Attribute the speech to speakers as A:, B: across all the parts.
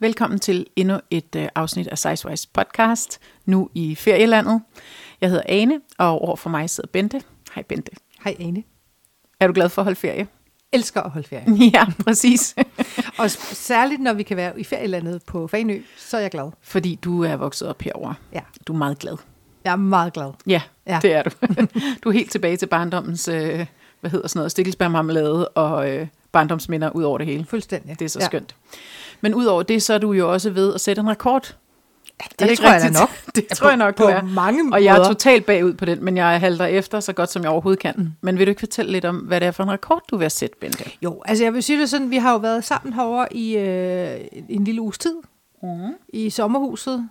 A: Velkommen til endnu et øh, afsnit af Sizewise podcast, nu i ferielandet. Jeg hedder Ane, og over for mig sidder Bente. Hej Bente.
B: Hej Ane.
A: Er du glad for at holde ferie?
B: Elsker at holde ferie.
A: Ja, præcis.
B: Og s- særligt når vi kan være i ferielandet på Fanø, så er jeg glad.
A: Fordi du er vokset op herover.
B: Ja.
A: Du er meget glad.
B: Jeg er meget glad.
A: Ja, ja.
B: Ja.
A: det er du. Du er helt tilbage til barndommens, øh, hvad hedder sådan noget, stikkelsbærmarmelade og øh, barndomsminder ud over det hele.
B: Fuldstændig.
A: Det er så ja. skønt. Men udover det, så er du jo også ved at sætte en rekord.
B: Ja, det,
A: Er
B: det
A: ikke
B: tror jeg da
A: rigtigt?
B: nok.
A: Det tror jeg nok,
B: på
A: du er.
B: mange
A: Og jeg er
B: måder.
A: totalt bagud på den, men jeg halter efter så godt, som jeg overhovedet kan. Men vil du ikke fortælle lidt om, hvad det er for en rekord, du vil at sætte, Bente?
B: Jo, altså jeg vil sige det sådan, vi har jo været sammen herovre i øh, en lille uges tid.
A: Mm.
B: I sommerhuset,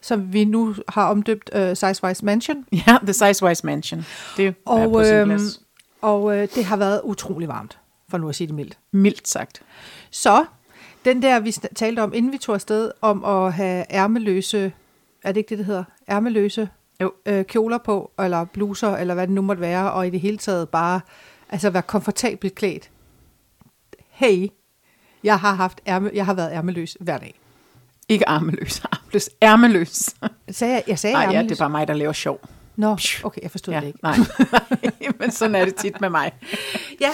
B: som vi nu har omdøbt øh, Sizewise Mansion.
A: Ja, The Sizewise Mansion. Det er og, på
B: Og,
A: sin
B: øh,
A: plads.
B: og øh, det har været utrolig varmt, for nu at sige det mildt.
A: Mildt sagt.
B: Så den der, vi sn- talte om, inden vi tog afsted, om at have ærmeløse, er det ikke det, det hedder? Ærmeløse
A: Jo.
B: øh, kjoler på, eller bluser, eller hvad det nu måtte være, og i det hele taget bare altså være komfortabelt klædt. Hey, jeg har, haft ærme, jeg har været ærmeløs hver dag.
A: Ikke armeløs, armeløs, ærmeløs.
B: Sagde jeg, jeg sagde
A: Nej, ja,
B: ærmeløs?
A: det er bare mig, der laver sjov.
B: Nå, okay, jeg forstod ja. det
A: Ja,
B: ikke.
A: nej. Men sådan er det tit med mig.
B: Ja,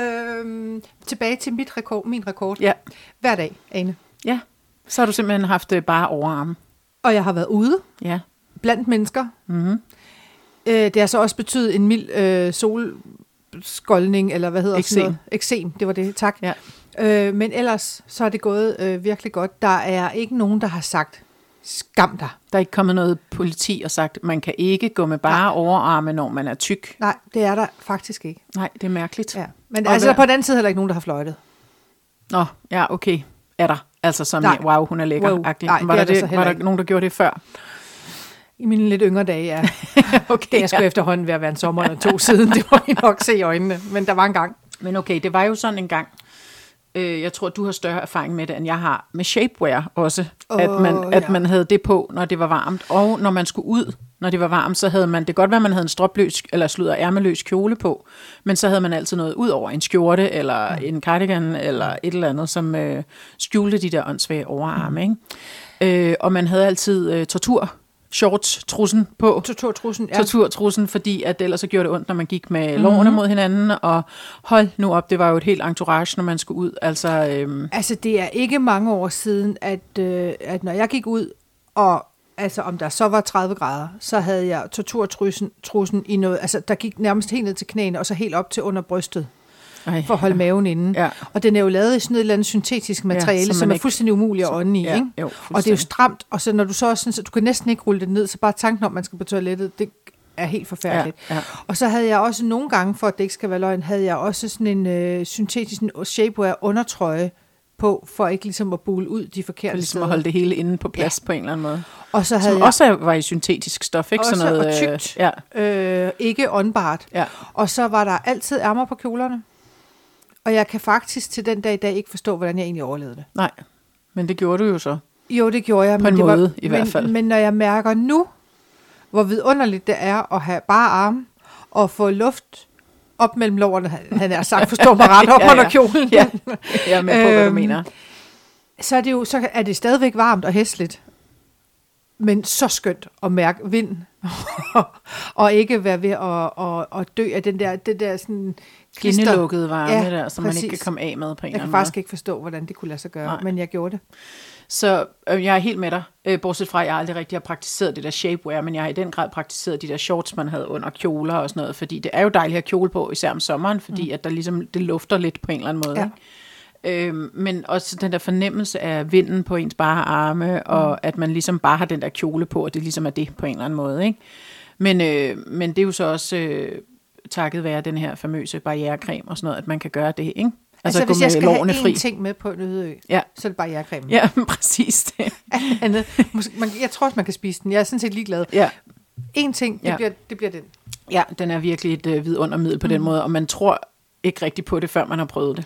B: øhm, tilbage til mit rekord, min rekord.
A: Ja.
B: Hver dag, Ane.
A: ja, så har du simpelthen haft øh, bare overarme.
B: Og jeg har været ude.
A: Ja,
B: blandt mennesker. Mm-hmm. Øh, det har så også betydet en mild øh, solskoldning, eller hvad hedder
A: Eksem.
B: sådan noget? Eksem, det var det, tak.
A: Ja.
B: Øh, men ellers så er det gået øh, virkelig godt. Der er ikke nogen, der har sagt, skam dig.
A: der er ikke kommet noget politi og sagt, man kan ikke gå med bare overarme, når man er tyk.
B: Nej, det er der faktisk ikke.
A: Nej, det er mærkeligt.
B: Ja. Men
A: Og
B: og altså,
A: hvad-
B: der er på den anden side heller ikke nogen, der har fløjtet.
A: Nå, ja, okay. Er der. Altså som, Nej.
B: Nej.
A: wow, hun er lækker.
B: Wow.
A: Wow.
B: Nej, det
A: var,
B: er
A: der
B: der så
A: det,
B: heller
A: var der
B: ikke.
A: nogen, der gjorde det før?
B: I mine lidt yngre dage, ja.
A: okay,
B: Det er jeg sgu
A: ja.
B: efterhånden ved at være en sommer eller to siden. Det må I nok se i øjnene. Men der var en gang.
A: Men okay, det var jo sådan en gang. Øh, jeg tror, du har større erfaring med det, end jeg har med shapewear også. Oh, at,
B: Åh,
A: man, at
B: ja.
A: man havde det på, når det var varmt. Og når man skulle ud, når det var varmt, så havde man... Det kan godt være, man havde en stropløs eller sludder ærmeløs kjole på, men så havde man altid noget ud over en skjorte, eller mm. en cardigan, eller et eller andet, som øh, skjulte de der åndssvage overarme. Ikke? Øh, og man havde altid øh, tortur shorts, trussen på
B: Torturtrussen, ja. Mhm.
A: torturtrussen, fordi at ellers så gjorde det ondt, når man gik med mm-hmm. lårene mod hinanden, og hold nu op, det var jo et helt entourage, når man skulle ud. Altså, øhm,
B: Altså, det er ikke mange år siden, at, øh, at når jeg gik ud, og altså om der så var 30 grader, så havde jeg torturtrussen trussen i noget, altså der gik nærmest helt ned til knæene, og så helt op til under brystet,
A: ej,
B: for at holde maven inde.
A: Ja.
B: Og den er jo lavet i sådan et eller andet syntetisk materiale, ja,
A: som
B: som, som
A: man
B: er
A: ikke-
B: fuldstændig umulig at ånde i,
A: ja,
B: ikke?
A: jo,
B: og det er jo
A: fuldstændig.
B: stramt, og så når du så også sådan, så du kan næsten ikke rulle det ned, så bare tanken om, at man skal på toilettet, det er helt forfærdeligt.
A: Ja, ja.
B: Og så havde jeg også nogle gange, for at det ikke skal være løgn, havde jeg også sådan en øh, syntetisk en shapewear undertrøje på, for ikke ligesom at bule ud de
A: for
B: forkerte
A: ligesom
B: steder.
A: at holde det hele inde på plads ja. på en eller anden måde.
B: Og så havde
A: Som
B: jeg
A: også er- var i syntetisk stof, ikke?
B: Også
A: Sådan noget,
B: og
A: øh,
B: tykt.
A: Ja,
B: øh, ikke åndbart.
A: ja.
B: Og så var der altid ærmer på kjolerne. Og jeg kan faktisk til den dag i dag ikke forstå, hvordan jeg egentlig overlevede det.
A: Nej, men det gjorde du jo så.
B: Jo, det gjorde jeg.
A: På
B: men
A: en
B: det
A: måde,
B: var,
A: i hvert
B: men,
A: fald.
B: Men når jeg mærker nu, hvor vidunderligt det er at have bare arme og få luft op mellem lårene, han han er sagt, forstå mig ret, op
A: Ja, ja.
B: under kjolen,
A: Ja, jeg er med på, hvad du
B: Øhm,
A: mener.
B: så er det jo så er det stadigvæk varmt og hæsligt. Men så skønt at mærke vind, og ikke være ved at, at, at dø af den der, det der sådan klister.
A: Indelukkede varme
B: Ja,
A: der, som man
B: præcis.
A: ikke kan komme af med på en
B: Jeg
A: eller
B: kan
A: anden
B: faktisk ikke forstå, hvordan det kunne lade sig gøre,
A: Nej.
B: Nej. men jeg gjorde det.
A: Så øh, jeg er helt med dig, øh, bortset fra, at jeg aldrig rigtig har praktiseret det der shapewear, men jeg har i den grad praktiseret de der shorts, man havde under kjoler og sådan noget, fordi det er jo dejligt at have kjole på, især om sommeren, fordi mm. at der ligesom, det lufter lidt på en eller anden måde.
B: Ja.
A: Ikke? Øhm, men også den der fornemmelse af vinden på ens bare arme,
B: Mm.
A: og at man ligesom bare har den der kjole på, og det ligesom er det på en eller anden måde. Ikke? Men, øh, men det er jo så også øh, takket være den her famøse barrierecreme og sådan noget, at man kan gøre det, ikke?
B: Altså,
A: at
B: altså hvis jeg skal have
A: lårene
B: én ting med på en øde ø,
A: Ja.
B: så er det bare jærcremen.
A: Ja, præcis det.
B: Alt andet. Måske, man, jeg tror også, man kan spise den. Jeg er sådan set ligeglad.
A: Ja.
B: En ting, det,
A: Ja.
B: ja. bliver, det bliver den.
A: Ja, den er virkelig et øh, vidundermiddel på mm. den måde, og man tror ikke rigtigt på det, før man har prøvet det.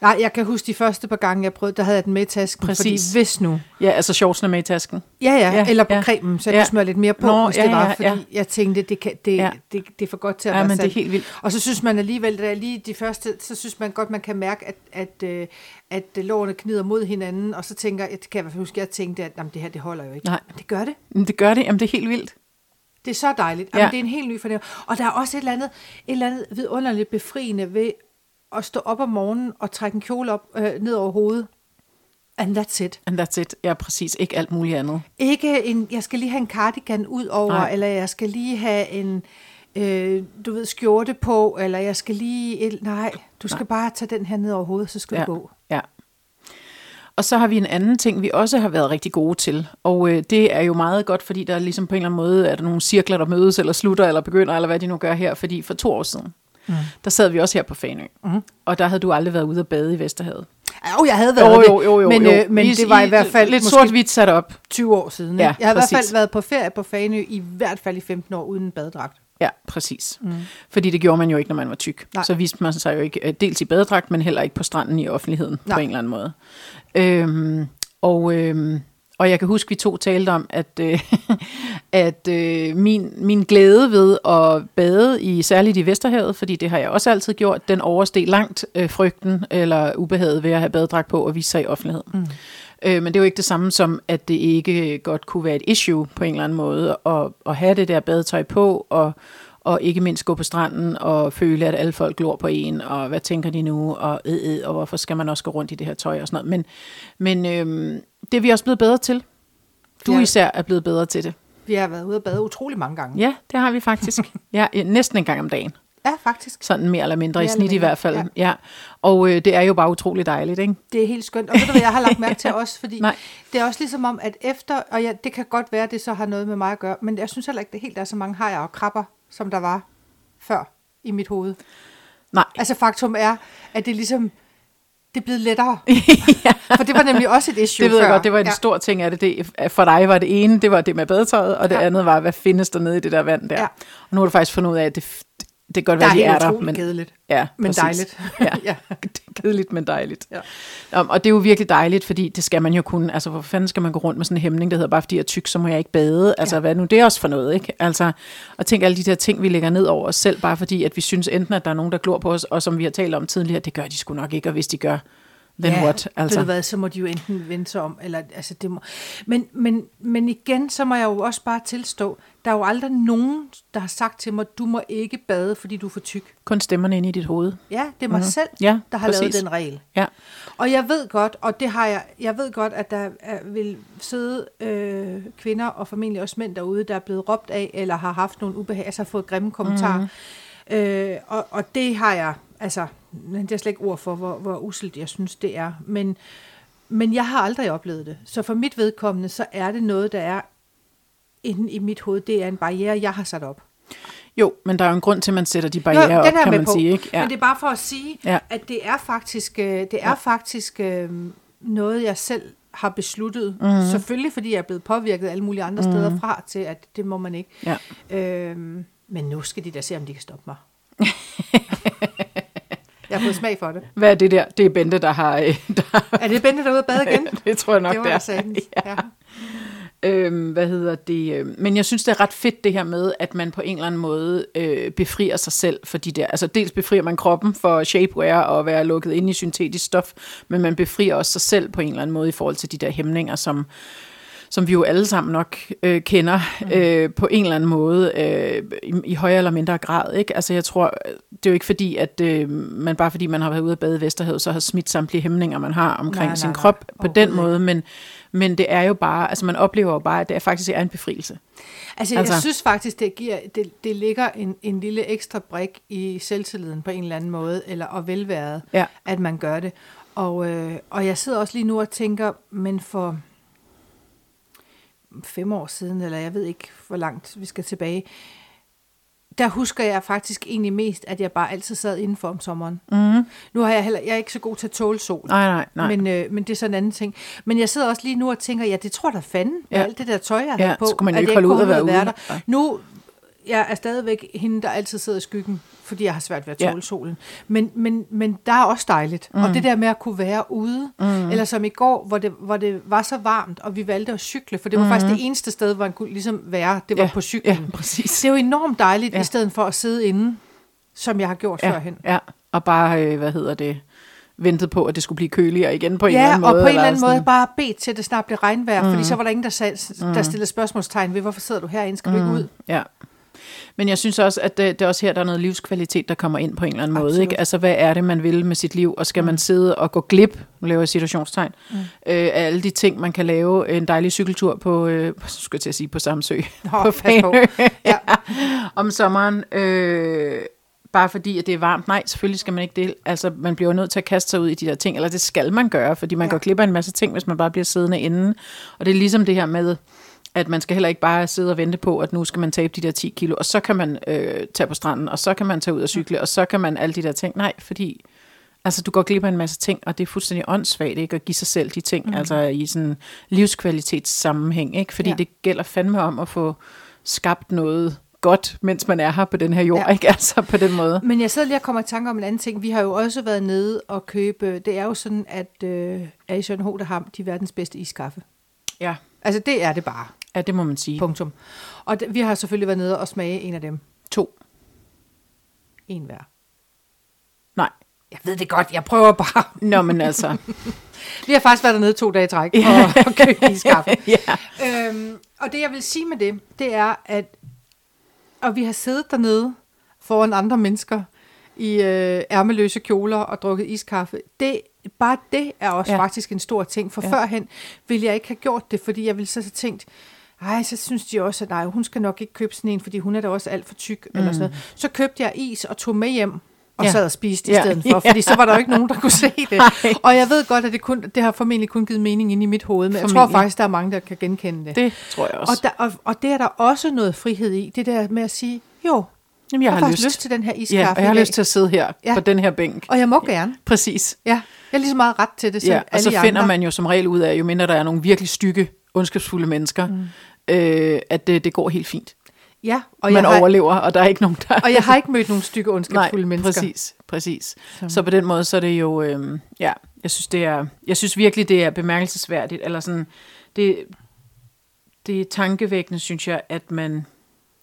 B: Nej, jeg kan huske de første par gange, jeg prøvede, der havde jeg den med i tasken.
A: Præcis.
B: Fordi hvis nu...
A: Ja, altså shortsene med i tasken.
B: Ja, ja,
A: Ja,
B: ja eller på
A: ja.
B: ja. cremen, så jeg ja.
A: Ja.
B: kunne smøre lidt mere på,
A: Nå,
B: Nå, hvis det
A: ja,
B: var,
A: ja,
B: fordi
A: ja.
B: jeg tænkte, det, kan, det,
A: Ja.
B: ja. det, det er for godt til at
A: Ja,
B: være
A: men det er
B: sandt.
A: helt vildt.
B: Og så synes man alligevel, at lige de første, så synes man godt, man kan mærke, at, at, øh, at øh, lårene knider mod hinanden, og så tænker jeg, det kan jeg i hvert fald huske, jeg tænkte, at jamen, det her, det holder jo ikke.
A: Nej.
B: Men det gør det.
A: Men det gør det, jamen det er helt vildt.
B: Det er så dejligt.
A: Ja.
B: Jamen, Det er en helt ny fornemmelse. Og der er også et eller andet, et eller andet vidunderligt befriende ved at stå op om morgenen og trække en kjole op øh, ned over hovedet. And that's it.
A: And that's it. Ja, præcis. Ikke alt muligt andet.
B: Ikke en, jeg skal lige have en cardigan ud over,
A: Nej.
B: Nej. eller jeg skal lige have en, øh, du ved, skjorte på, eller jeg skal lige... Et, nej, du skal Nej. bare tage den her ned over hovedet, så skal ja.
A: ja.
B: du gå.
A: Ja. Og så har vi en anden ting, vi også har været rigtig gode til. Og øh, det er jo meget godt, fordi der ligesom på en eller anden måde er der nogle cirkler, der mødes, eller slutter, eller begynder, eller hvad de nu gør her. Fordi for to år siden, mm. der sad vi også her på Fanø.
B: Mm-hmm.
A: Mm. Og der havde du aldrig været ude at bade i Vesterhavet.
B: Jo, jeg havde været det, men, Øh, men
A: Vi-
B: det var i hvert fald
A: Lidt
B: måske
A: sort-hvidt sat op.
B: 20 år siden.
A: Ja,
B: Ja, jeg har i hvert
A: præcis.
B: fald været på ferie på Fanø, i hvert fald i 15 år, uden en badedragt.
A: Ja, præcis. Mm. Fordi det gjorde man jo ikke, når man var tyk. Nej.
B: Nej.
A: Så viste man sig jo ikke øh, dels i badedragt, men heller ikke på stranden i offentligheden Nej. på
B: Nej.
A: en eller anden måde. Øhm, og, øhm, og jeg kan huske, vi to talte om, at, øh, at øh, min, min glæde ved at bade i særligt i Vesterhavet, fordi det har jeg også altid gjort, den oversteg langt øh, frygten eller ubehaget ved at have badedragt på og vise sig i offentligheden. Mm. Øh, men det er jo ikke det samme som, at det ikke godt kunne være et issue på en eller anden måde at, at have det der badetøj på og og ikke mindst gå på stranden og føle, at alle folk glor på en, og hvad tænker de nu, og ed, ed, og hvorfor skal man også gå rundt i det her tøj og sådan noget. Men, men øhm, det er vi også blevet bedre til. Du
B: Ja.
A: især er blevet bedre til det.
B: Vi har været ude at bade utrolig mange gange.
A: Ja, det har vi faktisk. ja, øh, næsten en gang om dagen.
B: Ja, faktisk.
A: Sådan mere eller mindre mere i
B: Mere
A: snit
B: eller
A: i
B: mindre,
A: hvert fald. Ja. ja. Og øh, det er jo bare utrolig dejligt, ikke?
B: Det er helt skønt. Og ved du, hvad jeg har lagt mærke til også? Fordi
A: Nej.
B: det er også ligesom om, at efter... Og ja, det kan godt være, at det så har noget med mig at gøre, men jeg synes heller ikke, det helt er så mange hajer og krabber, som der var før i mit hoved.
A: Nej.
B: Altså faktum er, at det ligesom... Det er blevet lettere. For det var nemlig også et issue
A: Det ved jeg
B: før.
A: godt, det var en ja.
B: ja.
A: stor ting af det. det. For dig var det ene, det var det med badetøjet, og det ja.
B: Ja.
A: andet var, hvad findes der nede i det der vand der. Ja.
B: Ja.
A: Og nu har du faktisk fundet ud af, at det, f- det kan godt
B: Der
A: være,
B: er
A: de
B: helt
A: er der.
B: utroligt kedeligt.
A: Ja,
B: Men
A: præcis.
B: dejligt.
A: ja.
B: Ja.
A: Det er kedeligt, men dejligt.
B: Ja.
A: Um, og det er jo virkelig dejligt, fordi det skal man jo kunne. Altså, hvor fanden skal man gå rundt med sådan en hæmning, der hedder, bare fordi jeg er tyk, så må jeg ikke bade. Altså, ja. hvad er nu det er også for noget, ikke? Altså, og tænk alle de der ting, vi lægger ned over os selv, bare fordi, at vi synes enten, at der er nogen, der glor på os, og som vi har talt om tidligere, det gør de sgu nok ikke, og hvis de gør, then
B: ja,
A: what?
B: Altså. Ved du hvad, så må de jo enten vende sig om, eller altså det må... Men, men, men igen, så må jeg jo også bare tilstå, der er jo aldrig nogen, der har sagt til mig, du må ikke bade, fordi du er for tyk.
A: kun stemmerne inde i dit hoved.
B: Ja, det er mig mm-hmm. selv,
A: Mhm. Ja,
B: der har
A: præcis.
B: lavet den regel.
A: Ja,
B: Og jeg ved godt, og det har jeg, jeg ved godt, at der er, vil sidde øh, kvinder og formentlig også mænd derude, der er blevet råbt af, eller har haft nogle ubehag, altså har fået grimme kommentarer. Mm. Øh, og, og det har jeg, altså, men det er slet ikke ord for, hvor, hvor uselt jeg synes, det er. Men, men jeg har aldrig oplevet det. Så for mit vedkommende, så er det noget, der er inde i mit hoved. Det er en barriere, jeg har sat op.
A: jo, men der er jo en grund til, at man sætter de
B: Jo,
A: barriere op,
B: den er jeg
A: kan
B: med
A: man
B: på.
A: sige, ikke?
B: Men det er bare for at sige,
A: Ja.
B: ja. at det er faktisk, øh, det er ja. faktisk øh, noget, jeg selv har besluttet.
A: Mhm.
B: Mm-hmm. Selvfølgelig, fordi jeg er blevet påvirket alle mulige andre mm-hmm. steder fra til, at det må man ikke.
A: Ja.
B: Øh, men nu skal de da se, om de kan stoppe mig. jeg har fået smag for det.
A: Hvad er det der? Det er Bente, der har... øh, Der,
B: Er det Bente derude at bade igen?
A: det tror jeg nok,
B: det var
A: det
B: der
A: er.
B: sagtens. Ja.
A: Øhm, hvad hedder det? øhm, Men jeg synes, det er ret fedt det her med, at man på en eller anden måde øh, befrier sig selv for de der. Altså dels befrier man kroppen for shapewear og at være lukket ind i syntetisk stof, men man befrier også sig selv på en eller anden måde i forhold til de der hæmninger, som som vi jo alle sammen nok øh, kender øh, på en eller anden måde, øh, i, i højere eller mindre grad. Ikke? Altså jeg tror, det er jo ikke fordi, at øh, man bare fordi man har været ude at bade i Vesterhavet, så har smidt samtlige hæmninger, man har omkring
B: Nej,
A: sin
B: nej, nej.
A: krop på den
B: Overhovedet
A: måde, men, men det er jo bare, altså man oplever jo bare, at det er faktisk er en befrielse.
B: Altså,
A: Altså-
B: altså, jeg synes faktisk, det, giver, det, det ligger en, en lille ekstra brik i selvtilliden på en eller anden måde, eller og velværet,
A: Ja.
B: at man gør det. Og, øh, og jeg sidder også lige nu og tænker, men for fem år siden, eller jeg ved ikke, hvor langt vi skal tilbage, der husker jeg faktisk egentlig mest, at jeg bare altid sad indenfor om sommeren. Mm. Nu har jeg heller, jeg er ikke så god til at tåle sol.
A: Nej, nej, nej.
B: Men, øh, men det er sådan en anden ting. Men jeg sidder også lige nu og tænker, ja, det tror der fanden med
A: Ja.
B: ja. alt det der tøj, jeg
A: Ja,
B: havde på.
A: så kunne man jo
B: at
A: ikke
B: jeg
A: holde ud
B: kunne
A: at være
B: holde ud
A: ude.
B: der. Nu jeg er stadigvæk hende, der altid sidder i skyggen, fordi jeg har svært ved at
A: Ja.
B: tåle solen. Men, men, men der er også dejligt. Mm. Og det der med at kunne være ude, mm. eller som i går, hvor det, hvor det var så varmt, og vi valgte at cykle, for det var mm. faktisk det eneste sted, hvor man kunne ligesom være, det var
A: Ja,
B: på cyklen.
A: ja, præcis.
B: Det er jo enormt dejligt,
A: Ja.
B: ja. i stedet for at sidde inde, som jeg har gjort ja. førhen.
A: Ja, ja, og bare, øh, hvad hedder det, ventet på, at det skulle blive køligere igen på en eller
B: ja,
A: anden måde.
B: og på en eller anden
A: sådan.
B: måde bare bedt til, at det snart blev regnvejr, mm. fordi så var der ingen, der, sag,
A: Mm.
B: der stillede spørgsmålstegn ved, hvorfor sidder du herinde, skal du ikke ud?
A: Ja. Men jeg synes også, at det, det er også her, der er noget livskvalitet, der kommer ind på en eller anden måde.
B: Absolut. Mm.
A: Ikke? Altså, hvad er det, man vil med sit liv? Og skal man sidde og gå glip, nu laver jeg situationstegn, mm. øh, af alle de ting, man kan lave. En dejlig cykeltur på, øh, skulle jeg til at sige, på Samsø.
B: Nå,
A: på
B: pas på.
A: Fanø.
B: Ja.
A: Om sommeren, øh, bare fordi, at det er varmt. Nej, selvfølgelig skal man ikke det. Altså, man bliver jo nødt til at kaste sig ud i de der ting, eller det skal man gøre, fordi man ja.
B: Ja.
A: går glip af en masse ting, hvis man bare bliver siddende inde. Og det er ligesom det her med, at man skal heller ikke bare sidde og vente på, at nu skal man tabe de der 10 kilo, og så kan man øh, tage på stranden, og så kan man tage ud og cykle, og så kan man alle de der ting. Nej, fordi altså, du går glip af en masse ting, og det er fuldstændig åndssvagt ikke, at give sig selv de ting, mm. altså i sådan livskvalitetssammenhæng, ikke? fordi ja.
B: Ja.
A: det gælder fandme om at få skabt noget godt, mens man er her på den her jord, ja.
B: Ja.
A: ikke? Altså på den måde.
B: Men jeg sidder lige og kommer i tanke om en anden ting. Vi har jo også været nede og købe, det er jo sådan, at øh, Asian Hodaham, de er verdens bedste iskaffe.
A: Ja.
B: Altså det er det bare,
A: Ja, det må man sige.
B: punktum. Og det, vi har selvfølgelig været nede og smage en af dem.
A: to.
B: En hver.
A: Nej.
B: Jeg ved det godt, jeg prøver bare.
A: Nå, men altså.
B: Vi har faktisk været dernede to dage i træk og, og købt iskaffe.
A: ja.
B: øhm, og det, jeg vil sige med det, det er, at og vi har siddet dernede foran andre mennesker i øh, ærmeløse kjoler og drukket iskaffe. Det, bare det er også
A: Ja.
B: ja. faktisk en stor ting, for
A: Ja.
B: ja. førhen ville jeg ikke have gjort det, fordi jeg ville så have tænkt, ej, så synes de også, at nej, hun skal nok ikke købe sådan en, fordi hun er da også alt for tyk, mm. eller sådan noget. Så købte jeg is og tog med hjem, og
A: Ja.
B: ja. sad og spiste
A: Ja.
B: i stedet for, fordi så var der jo ikke nogen, der kunne se det.
A: Nej.
B: Og jeg ved godt, at det, kun, det har formentlig kun givet mening inde i mit hoved, men jeg
A: Formentlig.
B: tror faktisk, der er mange, der kan genkende det.
A: Det tror jeg også.
B: og, der, og, og det er der også noget frihed i, det der med at sige, jo,
A: Jamen,
B: jeg har faktisk lyst til den her
A: ja,
B: iskaffe
A: og jeg har
B: i dag.
A: lyst til at sidde her
B: Ja.
A: på den her bænk.
B: og jeg må gerne.
A: Præcis.
B: Ja, jeg har lige så meget ret til det, som
A: Ja, og
B: alle
A: så
B: I
A: finder
B: andre.
A: man jo som regel ud af, jo mindre der er nogle virkelig stykke, ondskabsfulde mennesker, mm. øh, at det, det går helt fint.
B: Ja,
A: Og
B: og jeg,
A: man har...
B: har,
A: overlever, og der er ikke nogen, der...
B: og jeg har ikke mødt nogen stykke ondskabsfulde
A: Nej,
B: mennesker.
A: præcis, præcis. Så. så på den måde, så er det jo... Øh, ja, jeg synes, det er, jeg synes virkelig, det er bemærkelsesværdigt, eller sådan... Det, det er tankevækkende, synes jeg, at man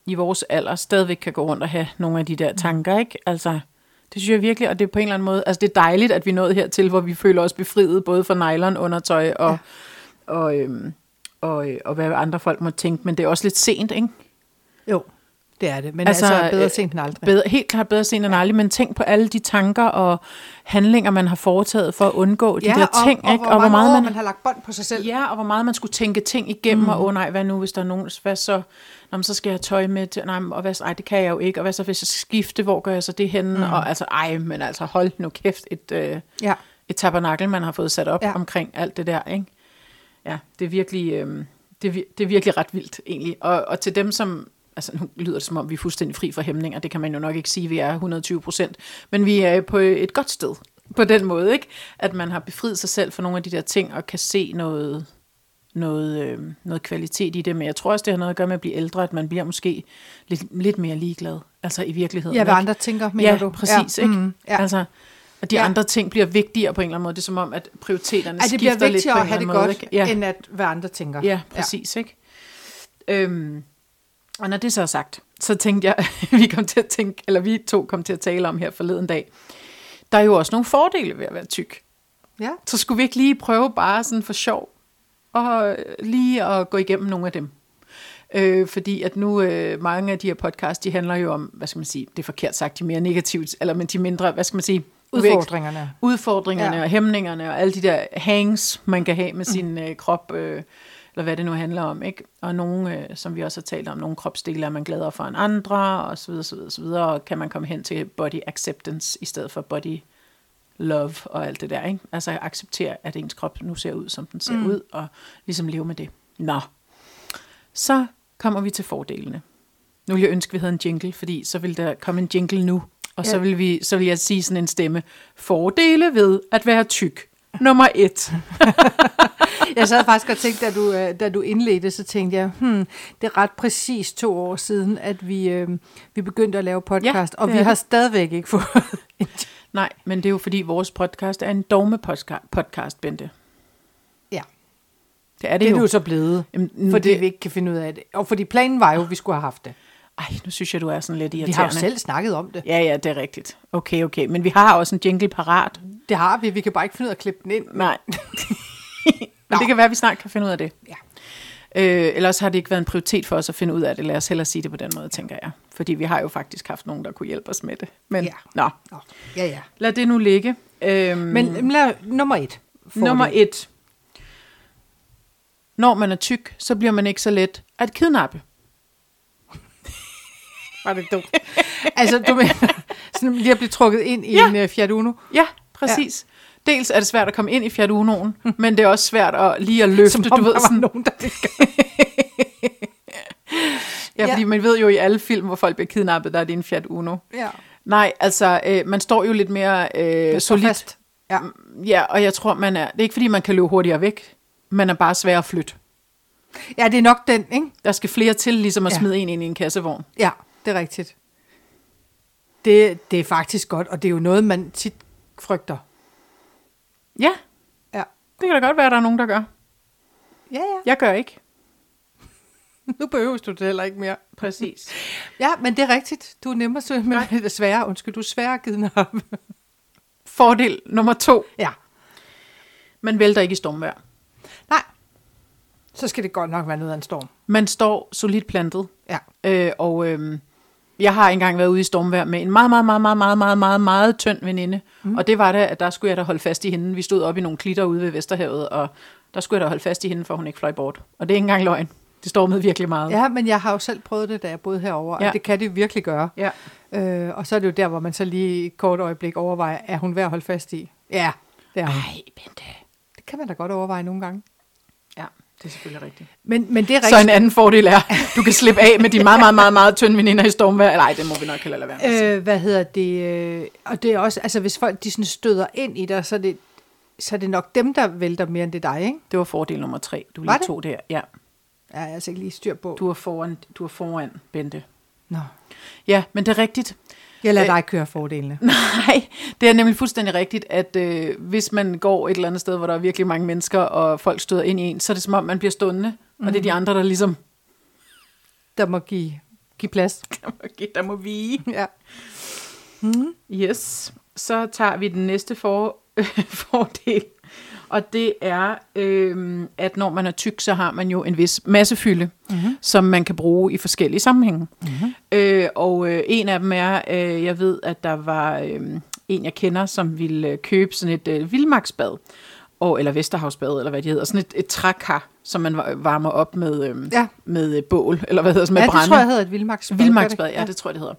A: i vores alder stadigvæk kan gå rundt og have nogle af de der tanker, ikke? Altså, det synes jeg virkelig, og det er på en eller anden måde, altså det er dejligt, at vi er nået hertil, hvor vi føler os befriet, både fra nylon, undertøj og, ja. og, øhm, og, øh, og hvad andre folk må tænke, men det er også lidt sent, ikke?
B: Jo, det er det, men altså, altså bedre sent end aldrig.
A: øh, Bedre, helt klart bedre sent end aldrig, men tænk på alle de tanker og handlinger, man har foretaget for at undgå de der
B: og,
A: ting,
B: og,
A: ikke?
B: hvor, mange år man... man har lagt bånd på sig selv.
A: Ja, og hvor meget man skulle tænke ting igennem, mm. og åh nej, hvad nu, hvis der er nogen, hvad så, Nå, men så skal jeg have tøj med, til, nej, men- og hvad, så- ej, det kan jeg jo ikke, og hvad så, hvis jeg skal skifte, hvor gør jeg så det henne, mm. og altså, ej, men altså, hold nu kæft, et, øh,
B: Ja.
A: et tabernakel, man har fået sat op ja.
B: Ja.
A: omkring alt det der, ikke? Ja, det er virkelig, øh, det, er, vir- det er virkelig ret vildt, egentlig, og, og til dem, som Altså, nu lyder det som om, vi er fuldstændig fri fra hæmninger. Det kan man jo nok ikke sige, vi er 120 procent. Men vi er på et godt sted på den måde, ikke? At man har befriet sig selv for nogle af de der ting, og kan se noget, noget, øh, noget kvalitet i det. Men jeg tror også, det har noget at gøre med at blive ældre, at man bliver måske lidt, lidt mere ligeglad, altså i virkeligheden.
B: Ja, hvad
A: ikke?
B: andre tænker, mener
A: ja,
B: du?
A: præcis, ikke?
B: Mm,
A: ja. Altså, og de ja.
B: Ja.
A: andre ting bliver vigtigere på en eller anden måde. Det er som om, at prioriteterne
B: At det
A: skifter
B: bliver
A: lidt på en
B: vigtigere at
A: eller
B: have
A: anden
B: det
A: måde.
B: godt,
A: ikke? Ja.
B: end at hvad andre tænker.
A: Ja, præcis, ja. ikke? Øhm, og når det så er sagt, så tænkte jeg, vi kom til at tænke, eller vi to kom til at tale om her forleden dag, der er jo også nogle fordele ved at være tyk.
B: Ja.
A: Så skulle vi ikke lige prøve bare sådan for sjov, og øh, lige at gå igennem nogle af dem. Øh, fordi at nu, øh, mange af de her podcasts, de handler jo om, hvad skal man sige, det er forkert sagt, de mere negativt, eller men de mindre, hvad skal man sige,
B: Udfordringerne.
A: udfordringerne ja.
B: Ja.
A: og hæmningerne og alle de der hangs, man kan have med sin øh, krop, øh, eller hvad det nu handler om. ikke? Og nogle, øh, som vi også har talt om, nogle kropsdele er man gladere for end andre, og så videre, så videre, så videre. Og kan man komme hen til body acceptance i stedet for body love og alt det der. Ikke? Altså acceptere, at ens krop nu ser ud, som den ser mm. ud, og ligesom leve med det. Nå, så kommer vi til fordelene. Nu ville jeg ønske, vi havde en jingle, fordi så ville der komme en jingle nu, og ja. så,
B: Ja.
A: ville vi, så ville jeg sige sådan en stemme. Fordele ved at være tyk. Nummer et.
B: Jeg sad faktisk og tænkte, da du, øh, da du indledte, så tænkte jeg, hmm, det er ret præcis to år siden, at vi, øh, vi begyndte at lave podcast,
A: Ja,
B: og
A: det
B: vi
A: er
B: har
A: det.
B: stadigvæk ikke fået et
A: Nej, men det er jo fordi, vores podcast er en dogme-podcast, Bente.
B: Ja,
A: Det er det,
B: det er
A: jo.
B: du så blevet,
A: Jamen,
B: fordi
A: det-
B: vi ikke kan finde ud af det. Og fordi planen var jo, at vi skulle have haft det.
A: Ej, nu synes jeg, du er sådan lidt
B: Vi
A: irriterende.
B: har jo selv snakket om det.
A: Ja, ja, det er rigtigt. Okay, okay. Men vi har også en jingle parat.
B: Det har vi, vi kan bare ikke finde ud af at klippe den ind.
A: Nej. men det kan være, at vi snart kan finde ud af det.
B: Ja.
A: Øh, ellers har det ikke været en prioritet for os at finde ud af det. Lad os hellere sige det på den måde, tænker jeg. Fordi vi har jo faktisk haft nogen, der kunne hjælpe os med det. Men
B: Ja.
A: ja. nå,
B: Nå, ja, ja.
A: lad det nu ligge. Øhm,
B: Men mm. lad, nummer et. får
A: nummer
B: det.
A: et. Når man er tyk, så bliver man ikke så let at kidnappe. Var det dumt?
B: Altså, du mener, sådan lige at blive trukket ind i
A: Ja.
B: en uh, Fiat Uno,
A: Ja, præcis. Ja. Dels er det svært at komme ind i Fiat Uno'en, men det er også svært at lige at løfte,
B: som
A: du ved, sådan,
B: nogen, der det
A: ja,
B: Ja.
A: fordi man ved jo i alle film, hvor folk bliver kidnappet, der er det en Fiat Uno.
B: Ja.
A: Nej, altså, øh, man står jo lidt mere øh, solidt.
B: Fast. Ja.
A: Ja, og jeg tror, man er, det er ikke fordi, man kan løbe hurtigere væk. Man er bare svær at flytte.
B: ja, det er nok den, ikke?
A: Der skal flere til, ligesom at
B: Ja.
A: ja. smide en ind i en kassevogn.
B: Ja, det er rigtigt. Det, det er faktisk godt, og det er jo noget, man tit frygter.
A: Ja,
B: Ja,
A: det kan da godt være, at der er nogen, der gør.
B: ja. ja.
A: Jeg gør ikke.
B: Nu behøver du det heller ikke mere.
A: Præcis.
B: Ja, men det er rigtigt. Du er nemmere søge med det svære. Undskyld, du er sværere at kidnappe.
A: Fordel nummer to.
B: Ja.
A: Man vælter ikke i stormvejr.
B: Nej. Så skal det godt nok være noget af en storm.
A: Man står solidt plantet.
B: Ja.
A: Øh, og øh, jeg har engang været ude i stormvejr med en meget, meget, meget, meget, meget, meget, meget, meget tynd veninde. Mm. Og det var det, at der skulle jeg da holde fast i hende. Vi stod oppe i nogle klitter ude ved Vesterhavet, og der skulle jeg da holde fast i hende, for hun ikke fløj bort. Og det er ikke engang løgn. Det stormede virkelig meget.
B: Ja, men jeg har jo selv prøvet det, da jeg boede herovre, ja.
A: Ja.
B: og det kan det virkelig gøre.
A: ja.
B: Øh, og så er det jo der, hvor man så lige i et kort øjeblik overvejer, er hun værd at holde fast i? Ja, det er hun.
A: Ej, Bente.
B: Det kan man da godt overveje nogle gange.
A: Ja, det er selvfølgelig rigtigt.
B: Men, men det er
A: Så
B: rigtigt.
A: en anden fordel er, du kan slippe af med de meget, meget, meget, meget tynde veninder i stormvejr. Nej, det må vi nok heller lade være med. Øh.
B: Øh, hvad hedder det? Øh, og det er også, altså hvis folk de sådan støder ind i dig, så er, det, så er det nok dem, der vælter mere end det er dig, ikke?
A: Det var fordel nummer tre. Du
B: Var
A: lige
B: det?
A: tog der. Ja,
B: Ja, jeg er altså ikke lige styr på. Du.
A: du er foran, du er foran Bente.
B: Nå.
A: Ja, men det er rigtigt.
B: Jeg lader
A: Øh,
B: dig køre fordelene.
A: Nej, det er nemlig fuldstændig rigtigt, at øh, hvis man går et eller andet sted, hvor der er virkelig mange mennesker, og folk støder ind i en, så er det som om, man bliver stående, mm. og det er de andre, der ligesom,
B: Der må give, give plads.
A: okay, der må vige.
B: Ja.
A: Yes, så tager vi den næste for, fordel, og det er, øh, at når man er tyk, så har man jo en vis massefylde,
B: Mhm.
A: mm-hmm. som man kan bruge i forskellige sammenhænge. Mm-hmm. Øh, og øh, en af dem er, øh, jeg ved, at der var øh, en, jeg kender, som ville øh, købe sådan et øh, vildmarksbad, og, eller Vesterhavsbad, eller hvad det hedder, sådan et, et trækar, som man var- varmer op med, øh,
B: Ja.
A: ja. med øh, bål, eller hvad hedder det, med
B: ja,
A: brænde.
B: det tror jeg hedder et vildmarksbad. gør det
A: Vildmarksbad,
B: ikke?
A: ja, det tror jeg, det hedder.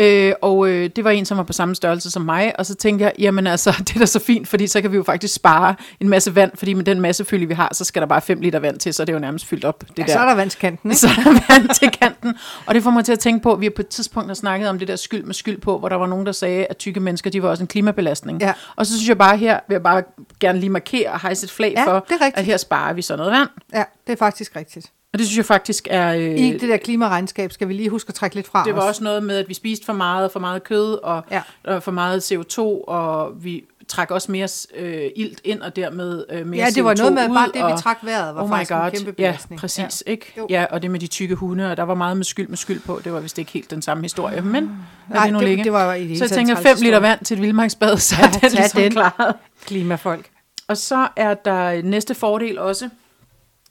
A: Øh, og øh, det var en, som var på samme størrelse som mig, og så tænkte jeg, jamen altså, det er da så fint, fordi så kan vi jo faktisk spare en masse vand, fordi med den masse fylde, vi har, så skal der bare 5 liter vand til, så er det er jo nærmest fyldt op. Det
B: ja,
A: der.
B: så er der vandskanten, ikke?
A: Så er der vand til kanten. Og det får mig til at tænke på, at vi på et tidspunkt har snakket om det der skyld med skyld på, hvor der var nogen, der sagde, at tykke mennesker, de var også en klimabelastning.
B: Ja.
A: Og så synes jeg bare her, vil jeg bare gerne lige markere og hejse et flag
B: Ja,
A: for,
B: det er rigtigt.
A: at her sparer vi så noget vand.
B: Ja, det er faktisk rigtigt.
A: Og det synes jeg faktisk er... Øh,
B: I det der klimaregnskab skal vi lige huske at trække lidt fra
A: Det var
B: os.
A: også noget med, at vi spiste for meget, for meget kød og,
B: Ja.
A: ja. og for meget CO2, og vi trak også mere øh, ilt ind, og dermed øh, mere
B: Ja, det var
A: CO2
B: noget med, at
A: ud,
B: bare det, vi
A: og- Oh
B: trak vejret, var faktisk en kæmpe belastning.
A: Ja, præcis. Ja. Ikke?
B: Jo.
A: Ja, og det med de tykke hunde, og der var meget med skyld med skyld på. Det var vist ikke helt den samme historie, men lad
B: Ah. Nej,
A: det, nu
B: det-
A: ligge.
B: det var i det hele
A: Så jeg
B: taget en
A: tænker,
B: træls
A: 5 liter
B: historie.
A: vand til et vildmarksbad, så ja, er
B: tag
A: den ligesom
B: den.
A: den. klaret.
B: Klimafolk.
A: Og så er der næste fordel også.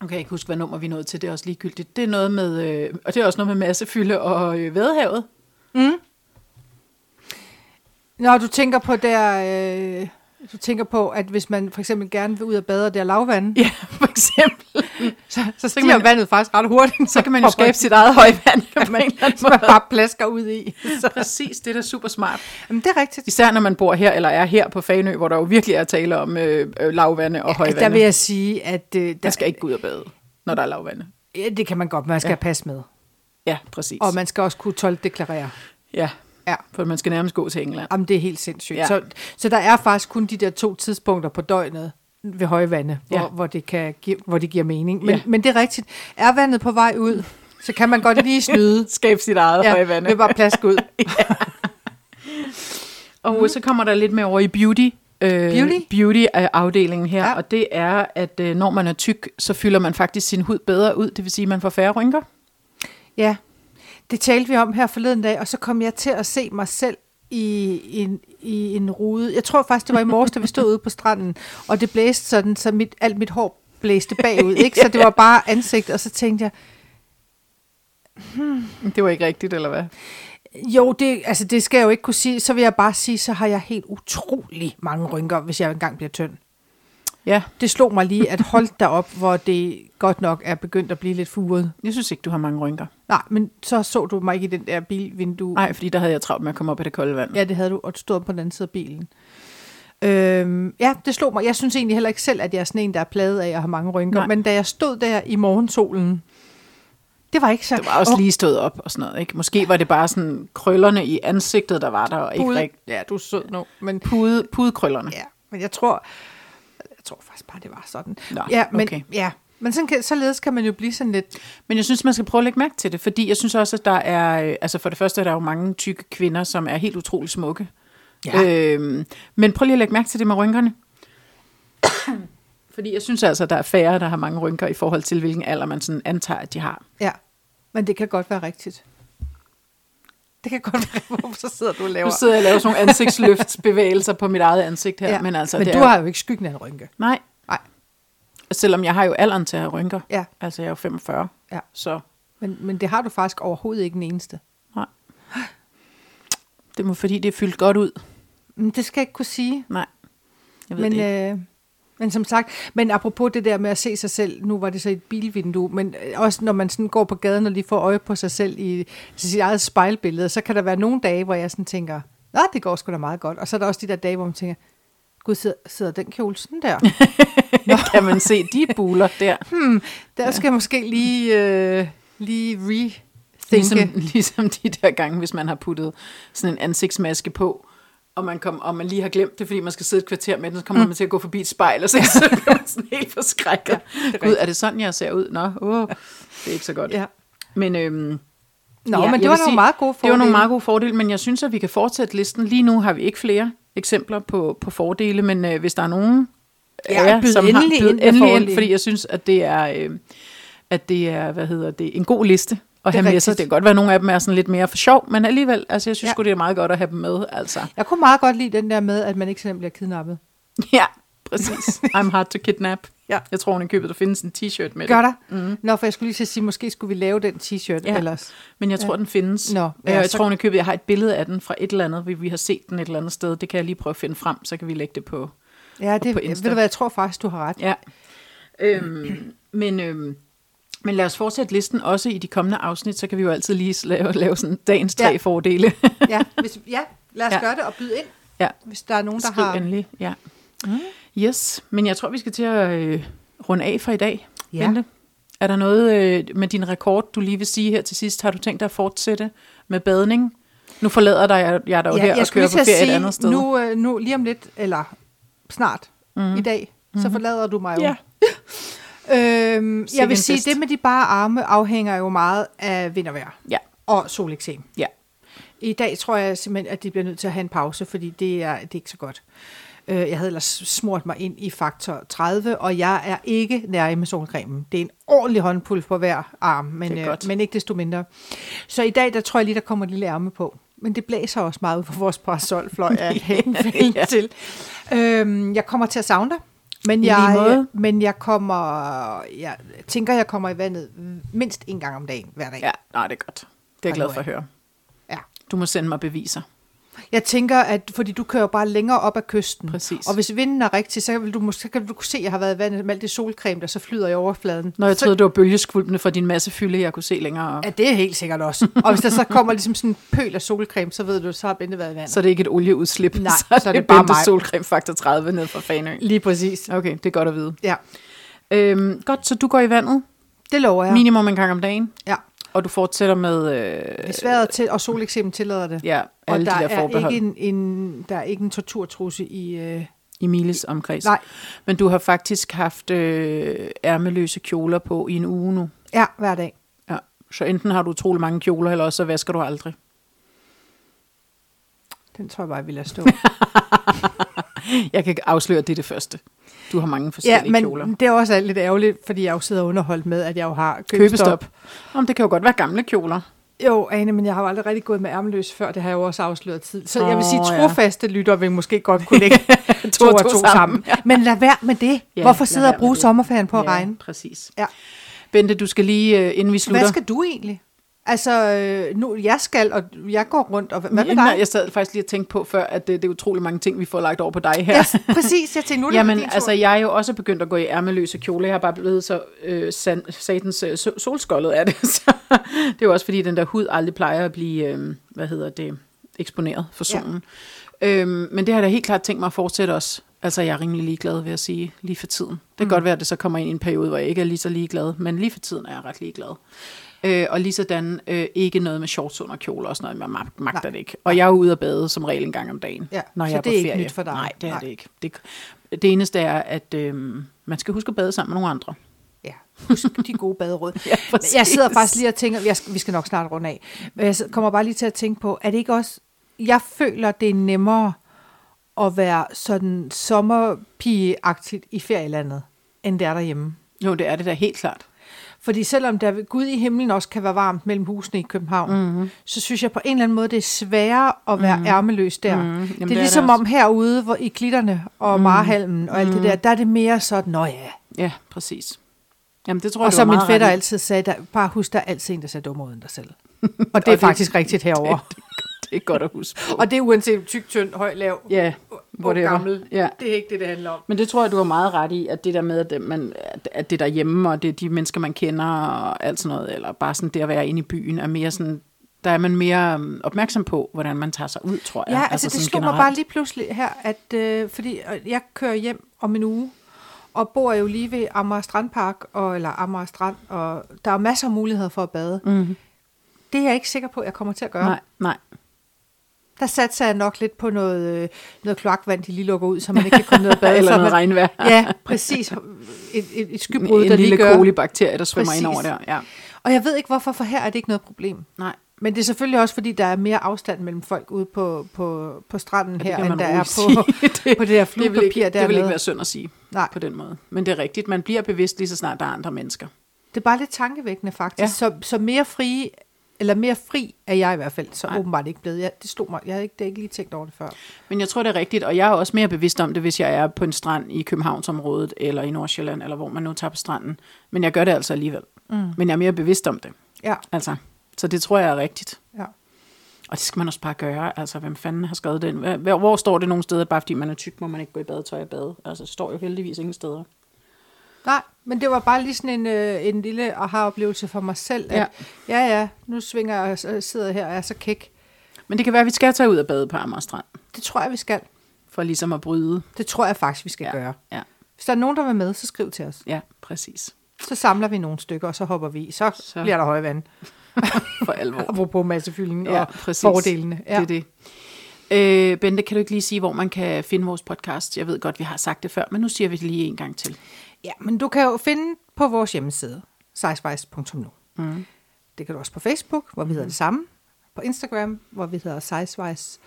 A: Nu kan jeg ikke huske, hvad nummer vi nåede til. Det er også ligegyldigt. Det er noget med, øh, og det er også noget med massefylde og øh, vedhavet.
B: Mm. Når du tænker på der, øh, du tænker på, at hvis man for eksempel gerne vil ud og bade og der er lavvand,
A: Ja, for eksempel.
B: så, så
A: kan
B: stiger
A: man-
B: vandet faktisk ret hurtigt.
A: Så kan man jo skabe sit eget højvand. Kan man,
B: som man bare plasker ud i.
A: så præcis, det er da super smart.
B: Jamen, det er rigtigt.
A: Især når man bor her, eller er her på Fanø, hvor der jo virkelig er tale om øh, øh, lavvande og højvande.
B: Der vil jeg sige, at øh, der,
A: Man skal ikke gå ud og bade, når der er lavvande.
B: ja, det kan man godt, man skal ja. passe med.
A: Ja, præcis.
B: Og man skal også kunne tolkdeklarere.
A: ja,
B: Ja.
A: for man skal nærmest gå til England.
B: Jamen, det er helt sindssygt. Ja.
A: Ja.
B: Så, så der er faktisk kun de der to tidspunkter på døgnet, ved høje vande, hvor,
A: Ja.
B: ja. hvor, det, kan, give- hvor det giver mening. Men,
A: Ja.
B: ja. men det er rigtigt. Er vandet på vej ud, så kan man godt lige snyde.
A: Skabe sit eget ja, høje vand.
B: ved bare plask ud.
A: Og mm. så kommer der lidt mere over i beauty. Øh,
B: Beauty?
A: Beauty-afdelingen her, ja.
B: Ja.
A: og det er, at øh, når man er tyk, så fylder man faktisk sin hud bedre ud, det vil sige, at man får færre rynker.
B: Ja, det talte vi om her forleden dag, og så kom jeg til at se mig selv i en, i en rude. Jeg tror faktisk, det var i morges, da vi stod ude på stranden, og det blæste sådan, så mit, alt mit hår blæste bagud. Ikke? Så det var bare ansigt, og så tænkte jeg,
A: Det var ikke rigtigt, eller hvad?
B: jo, det, altså, det skal jeg jo ikke kunne sige. Så vil jeg bare sige, så har jeg helt utrolig mange rynker, hvis jeg engang bliver tynd.
A: Ja,
B: Det slog mig lige, at holdt der op, hvor det godt nok er begyndt at blive lidt furet.
A: jeg synes ikke, du har mange rynker.
B: Nej, men så så du mig ikke i den der bilvindue.
A: Nej, fordi der havde jeg travlt med at komme op af det kolde vand.
B: Uh. Ja, det havde du, og du stod på den anden side af bilen. Øhm, ja, det slog mig. Jeg synes egentlig heller ikke selv, at jeg er sådan en, der er pladet af at have mange rynker.
A: Nej.
B: Nej. Men da jeg stod der i morgensolen, det var ikke så...
A: Det var også lige stået op og sådan noget, ikke? Måske var det bare sådan krøllerne i ansigtet, der var der, og ikke
B: pude.
A: rigtig
B: Ja, du er sød nu. Men,
A: pude, pudekrøllerne.
B: ja, men jeg tror, jeg tror faktisk bare, det var sådan.
A: Nå,
B: ja, men,
A: okay.
B: ja, men sådan kan, således kan man jo blive sådan lidt...
A: Men jeg synes, man skal prøve at lægge mærke til det, fordi jeg synes også, at der er, øh, altså for det første er der jo mange tykke kvinder, som er helt utrolig smukke.
B: Ja.
A: Øhm, men prøv lige at lægge mærke til det med rynkerne. fordi jeg synes altså, at der er færre, der har mange rynker i forhold til, hvilken alder man sådan antager, at de har.
B: Ja, men det kan godt være rigtigt. Det kan godt være, hvorfor sidder du og laver...
A: Nu sidder jeg og laver sådan nogle ansigtsløftsbevægelser på mit eget ansigt her,
B: ja.
A: ja. men altså...
B: men
A: det
B: du
A: er, jo-
B: har jo ikke skyggen af en rynke.
A: Nej,
B: Nej,
A: selvom jeg har jo alderen til at have rynker.
B: ja,
A: Altså, jeg er jo 45,
B: ja.
A: så
B: Men, men det har du faktisk overhovedet ikke den eneste.
A: nej. Det må fordi, det er fyldt godt ud.
B: Men det skal jeg ikke kunne sige.
A: Nej, jeg ved
B: Men,
A: det ikke.
B: øh, men som sagt, men apropos det der med at se sig selv, nu var det så et bilvindue, men øh, også når man sådan går på gaden og lige får øje på sig selv i sit eget spejlbillede, så kan der være nogle dage, hvor jeg sådan tænker, nej, det går sgu da meget godt. Og så er der også de der dage, hvor man tænker, gud, sidder, sidder den kjole sådan der?
A: kan man se de buler der.
B: Der skal jeg måske lige, øh, lige rethinke.
A: Ligesom, ligesom de der gange, hvis man har puttet sådan en ansigtsmaske på, og man, kom, og man lige har glemt det, fordi man skal sidde et kvarter med den, så
B: Mm.
A: kommer man til at gå forbi et spejl, og så, så bliver man sådan helt forskrækket. Ja, Gud, er det sådan, jeg ser ud? Nå, åh, det er ikke så godt.
B: Ja.
A: Men, øhm, ja,
B: Nå, men
A: jeg
B: det var
A: vil
B: nogle meget gode
A: Det var nogle
B: fordele.
A: meget gode fordele, men jeg synes, at vi kan fortsætte listen. Lige nu har vi ikke flere eksempler på, på fordele, men øh, hvis der er nogen,
B: Ja,
A: af jer,
B: byd endelig
A: byd
B: ind med
A: endelig ind,
B: fordele.
A: fordi jeg synes, at det er, øh, at det er hvad hedder det, en god liste at
B: Det er
A: have med sig.
B: rigtigt.
A: Det kan godt være, at nogle af dem er sådan lidt mere for sjov, men alligevel, altså jeg synes
B: Ja.
A: ja. det er meget godt at have dem med. Altså.
B: Jeg kunne meget godt lide den der med, at man ikke sådan bliver kidnappet.
A: Ja, præcis. I'm hard to kidnap.
B: Ja.
A: Jeg tror, hun købet, der findes en t-shirt med
B: Gør
A: det.
B: der? Mm. Nå, for jeg skulle lige til at sige, måske skulle vi lave den t-shirt
A: Mm-hmm. Ja.
B: ja. ellers.
A: Men jeg tror, den findes.
B: Nå,
A: ja,
B: ja,
A: jeg
B: så-
A: tror, hun købet, jeg har et billede af den fra et eller andet, vi, vi har set den et eller andet sted. Det kan jeg lige prøve at finde frem, så kan vi lægge det på.
B: Ja,
A: på
B: det, ved
A: Insta.
B: du hvad, jeg tror faktisk, du har ret.
A: Ja. Øhm, men, øhm, men lad os fortsætte listen også i de kommende afsnit, så kan vi jo altid lige lave, lave sådan dagens tre
B: Ja.
A: fordele.
B: Ja, hvis, ja lad os
A: Ja.
B: ja. gøre det og byde ind,
A: ja.
B: hvis der er nogen, der
A: Skriv
B: har...
A: endelig. Ja. Mm. Yes, men jeg tror, vi skal til at øh, runde af for i dag.
B: Ja.
A: Bente. Er der noget øh, med din rekord, du lige vil sige her til sidst? Har du tænkt dig at fortsætte med badning? Nu forlader dig, jeg, jeg er dig jo ja, her og kører på
B: til at
A: ferie sige, et andet sted.
B: Nu, øh, nu lige om lidt, eller snart mm. i dag, så forlader du mig jo.
A: Mhm. Ja.
B: Øhm,
A: Sikke
B: jeg
A: en
B: vil sige,
A: fest.
B: det med de bare arme afhænger jo meget af vind og vejr
A: ja,
B: og soleksem.
A: ja.
B: I dag tror jeg simpelthen, at de bliver nødt til at have en pause, fordi det er, det er ikke så godt. Øh, Jeg havde ellers smurt mig ind i faktor 30, og jeg er ikke nær med solcremen. Det er en ordentlig håndpuls på hver arm, men,
A: Det er
B: øh,
A: godt.
B: men ikke desto mindre. Så i dag, der tror jeg lige, der kommer et lille ærme på. Men det blæser også meget ud på vores parasolfløj af hagen
A: Ja.
B: ja. til. Øhm, jeg kommer til at savne dig, men
A: I lige
B: jeg,
A: måde.
B: men jeg kommer, jeg tænker, jeg kommer i vandet mindst en gang om dagen hver dag.
A: ja. Nej, det er godt. Det er jeg
B: Ej,
A: glad
B: nu
A: for at
B: er
A: høre.
B: Ja.
A: Du må sende mig beviser.
B: Jeg tænker, at fordi du kører bare længere op ad kysten.
A: Præcis.
B: Og hvis vinden er rigtig, så vil du måske så kan du kunne se, at jeg har været i vandet med alt det solcreme, der så flyder i overfladen.
A: Når jeg
B: Så-
A: troede, det var bølgeskvulpene fra din masse fylde, jeg kunne se længere op.
B: Ja, det er helt sikkert også. Og hvis der så kommer ligesom sådan en pøl af solcreme, så ved du, så har Bente været i vandet.
A: Så er det ikke et olieudslip,
B: Nej,
A: så er det, bare Bente
B: mig.
A: solcreme faktor 30 ned fra Fanø.
B: Lige præcis.
A: Okay, det er godt at vide.
B: Ja,
A: Øhm, godt, så du går i vandet
B: det lover jeg.
A: ja. minimum en gang om dagen,
B: Ja,
A: og du fortsætter med øh,
B: hvis vejret til, og soleksemen tillader det.
A: ja,
B: og
A: alle
B: der,
A: de der
B: er
A: forbehold.
B: ikke en, en, der er ikke en torturtrusse i, øh,
A: i Miles omkreds.
B: Nej.
A: Men du har faktisk haft øh, ærmeløse kjoler på i en uge nu.
B: Ja, hver dag.
A: Ja. Så enten har du utrolig mange kjoler, eller også så vasker du aldrig.
B: Den tror jeg bare, jeg ville have stå.
A: Jeg kan afsløre, at det er det første. Du har mange
B: ja,
A: forskellige
B: men
A: kjoler.
B: det er også lidt ærgerligt, fordi jeg jo sidder underholdt med, at jeg jo har købestop.
A: Købestop. Om det kan jo godt være gamle kjoler.
B: Jo, Ane, men jeg har jo aldrig rigtig gået med ærmeløs før, det har jeg jo også afsløret tid. Så oh, jeg vil sige,
A: Åh, ja.
B: trofaste ja. lytter vil måske godt kunne lægge to og to sammen.
A: Ja.
B: Men lad være med det.
A: Ja,
B: Ja, Hvorfor
A: lad
B: sidde og
A: være
B: bruge
A: med det.
B: sommerferien på at regne?
A: præcis.
B: Ja.
A: Bente, du skal lige, øh, inden vi slutter...
B: Hvad skal du egentlig? Altså, øh, nu, jeg skal, og jeg går rundt, og hvad hvad med
A: Inden-
B: dig?
A: Jeg sad faktisk lige og tænkte på før, at øh, det, det er utrolig mange ting, vi får lagt over på dig her.
B: Ja, præcis, jeg tænkte, nu er det
A: Jamen,
B: din tur.
A: altså, jeg er jo også begyndt at gå i ærmeløse kjole. Jeg har bare blevet så øh, san, satens øh, so- solskoldet af det. Så, det er jo også, fordi den der hud aldrig plejer at blive, øh, hvad hedder det, eksponeret for
B: Ja.
A: solen. Ja. Øhm, men det har jeg da helt klart tænkt mig at fortsætte også. Altså, jeg er rimelig ligeglad, vil jeg sige, lige for tiden. Det kan mm. godt være, at det så kommer ind i en periode, hvor jeg ikke er lige så ligeglad, men lige for tiden er jeg ret ligeglad. Øh, og lige sådan øh, ikke noget med shorts under kjole og sådan noget, man mag- magter
B: Nej.
A: det ikke. Og jeg er ude at bade som regel en gang om dagen,
B: Ja,
A: når
B: så
A: jeg er
B: det
A: på
B: er ikke
A: ferie.
B: nyt for dig.
A: Nej, det er
B: Nej.
A: det ikke. Det, det eneste er, at øh, man skal huske at bade sammen med nogle andre.
B: Ja, husk de gode baderåd.
A: Ja, præcis.
B: jeg sidder faktisk lige og tænker, jeg, skal- vi skal nok snart runde af, men jeg sidder- kommer bare lige til at tænke på, er det ikke også, jeg føler, det er nemmere at være sådan sommerpigeagtigt i ferielandet, end det er derhjemme.
A: Jo, det er det da helt klart.
B: Fordi selvom der ved Gud i himlen også kan være varmt mellem husene i
A: Mm.
B: København, mm-hmm. så synes jeg på en eller anden måde, det er sværere at være mm-hmm. ærmeløs der.
A: Mhm. Jamen,
B: Mm-hmm. Det
A: det
B: er
A: er
B: ligesom
A: det også. Mm.
B: om herude hvor, i klitterne og mm-hmm. Marhalmen og alt det der, der er det mere sådan, nå ja.
A: Ja, præcis. Jamen, det tror jeg,
B: Og
A: du
B: som
A: har
B: min
A: meget
B: fætter
A: ret i.
B: altid sagde, der, bare husk, der er altid en, der ser dummere ud end dig selv. Og det er faktisk rigtigt herover.
A: Det er godt at huske. på.
B: Og det er uanset tyk, tynd, høj, lav,
A: ja,
B: ung,
A: whatever.
B: gammel.
A: Ja.
B: Det er ikke det, det handler om.
A: Men det tror jeg, du har meget ret i, at det der med, at, man, at- at det derhjemme, og det er de mennesker, man kender, og alt sådan noget, eller bare sådan det at være inde i byen, er mere sådan, der er man mere øhm, opmærksom på, hvordan man tager sig ud, tror jeg.
B: Ja, altså, altså det
A: sådan
B: slog mig bare lige pludselig her, at øh, fordi øh, jeg kører hjem om en uge, og bor jo lige ved Amager Strandpark, og, eller Amager Strand, og der er masser af muligheder for at bade. Mm-hmm. Det er jeg ikke sikker på, at jeg kommer til at gøre.
A: Mhm. Nej, nej.
B: Der satser jeg nok lidt på noget, øh, noget kloakvand, de lige lukker ud, så man ikke kan komme ned og bade.
A: Eller
B: så
A: noget
B: man-
A: regnvejr.
B: Ja, præcis. Et, et, et skybrud,
A: en
B: der
A: lille
B: lige gør.
A: kolibakterie, der svømmer ind
B: Præcis.
A: over der. Ja.
B: Og jeg ved ikke hvorfor, for her er det ikke noget problem.
A: Nej,
B: Men det er selvfølgelig også, fordi der er mere afstand mellem folk ude på, på, på stranden
A: Ja, det
B: her,
A: kan
B: end
A: man
B: der
A: roligt
B: er
A: sige.
B: på, på det her
A: det vil, ikke,
B: fluepapir
A: det vil ikke
B: dernede.
A: være synd at sige
B: Nej.
A: på den måde. Men det er rigtigt, man bliver bevidst lige så snart der er andre mennesker.
B: Det er bare lidt tankevækkende faktisk.
A: Ja.
B: Ja. Så, så mere frie, eller mere fri er jeg i hvert fald, så
A: Nej.
B: Nej. åbenbart ikke blevet. Jeg, det stod mig, jeg havde ikke, det havde ikke lige tænkt over det før.
A: Men jeg tror, det er rigtigt, og jeg er også mere bevidst om det, hvis jeg er på en strand i Københavnsområdet, eller i Nordsjælland, eller hvor man nu tager på stranden. Men jeg gør det altså alligevel. Mm. Men jeg er mere bevidst om det.
B: Ja,
A: Altså, så det tror jeg er rigtigt.
B: ja.
A: Og det skal man også bare gøre. Altså, hvem fanden har skrevet den? Hva- hva- Hvor står det nogle steder, bare fordi man er tyk, må man ikke gå i badetøj og bade? Altså, det står jo heldigvis ingen steder.
B: Nej, men det var bare lige sådan en, øh, en lille aha-oplevelse for mig selv. At,
A: Ja.
B: ja. ja, ja, nu svinger jeg og s- sidder her og er så kæk.
A: Men det kan være, at vi skal tage ud og bade på Amager Strand,
B: Det tror jeg, vi skal.
A: for ligesom at bryde.
B: Det tror jeg faktisk, vi skal ja. gøre.
A: Ja,
B: Hvis der er nogen, der vil med, så skriv til os.
A: ja præcis.
B: Så samler vi nogle stykker, og så hopper vi i. Så,
A: Så-
B: så. bliver der højvand.
A: For alvor.
B: Apropos massefyldning
A: Ja,
B: ja, og
A: præcis.
B: fordelene.
A: Ja. Det er det. Øh, Bente, kan du ikke lige sige, hvor man kan finde vores podcast? Jeg ved godt, vi har sagt det før, men nu siger vi det lige en gang til.
B: Ja, men du kan jo finde på vores hjemmeside, sizewise.nu. Mm. Det kan du også på Facebook, hvor vi
A: Mm.
B: hedder det samme. På Instagram, hvor vi hedder sizewise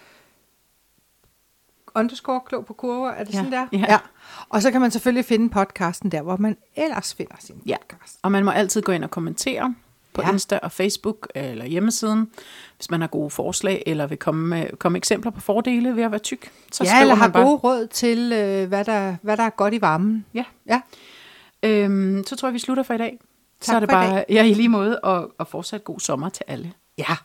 B: underscore klog på kurver, er det
A: Ja,
B: sådan der?
A: ja.
B: Og så kan man selvfølgelig finde podcasten der, hvor man ellers finder sin
A: Ja.
B: podcast.
A: Og man må altid gå ind og kommentere på ja.
B: Ja.
A: Insta og Facebook øh, eller hjemmesiden, hvis man har gode forslag, eller vil komme, med, komme eksempler på fordele ved at være tyk. Så
B: ja,
A: skriver
B: eller
A: man
B: har
A: bare.
B: gode råd til, øh, hvad, der, hvad der er godt i varmen.
A: Ja.
B: Ja,
A: Øhm, så tror jeg, vi slutter for i dag. så
B: Tak
A: er det
B: for i
A: bare, ja, i lige måde, og, og fortsat god sommer til alle.
B: ja.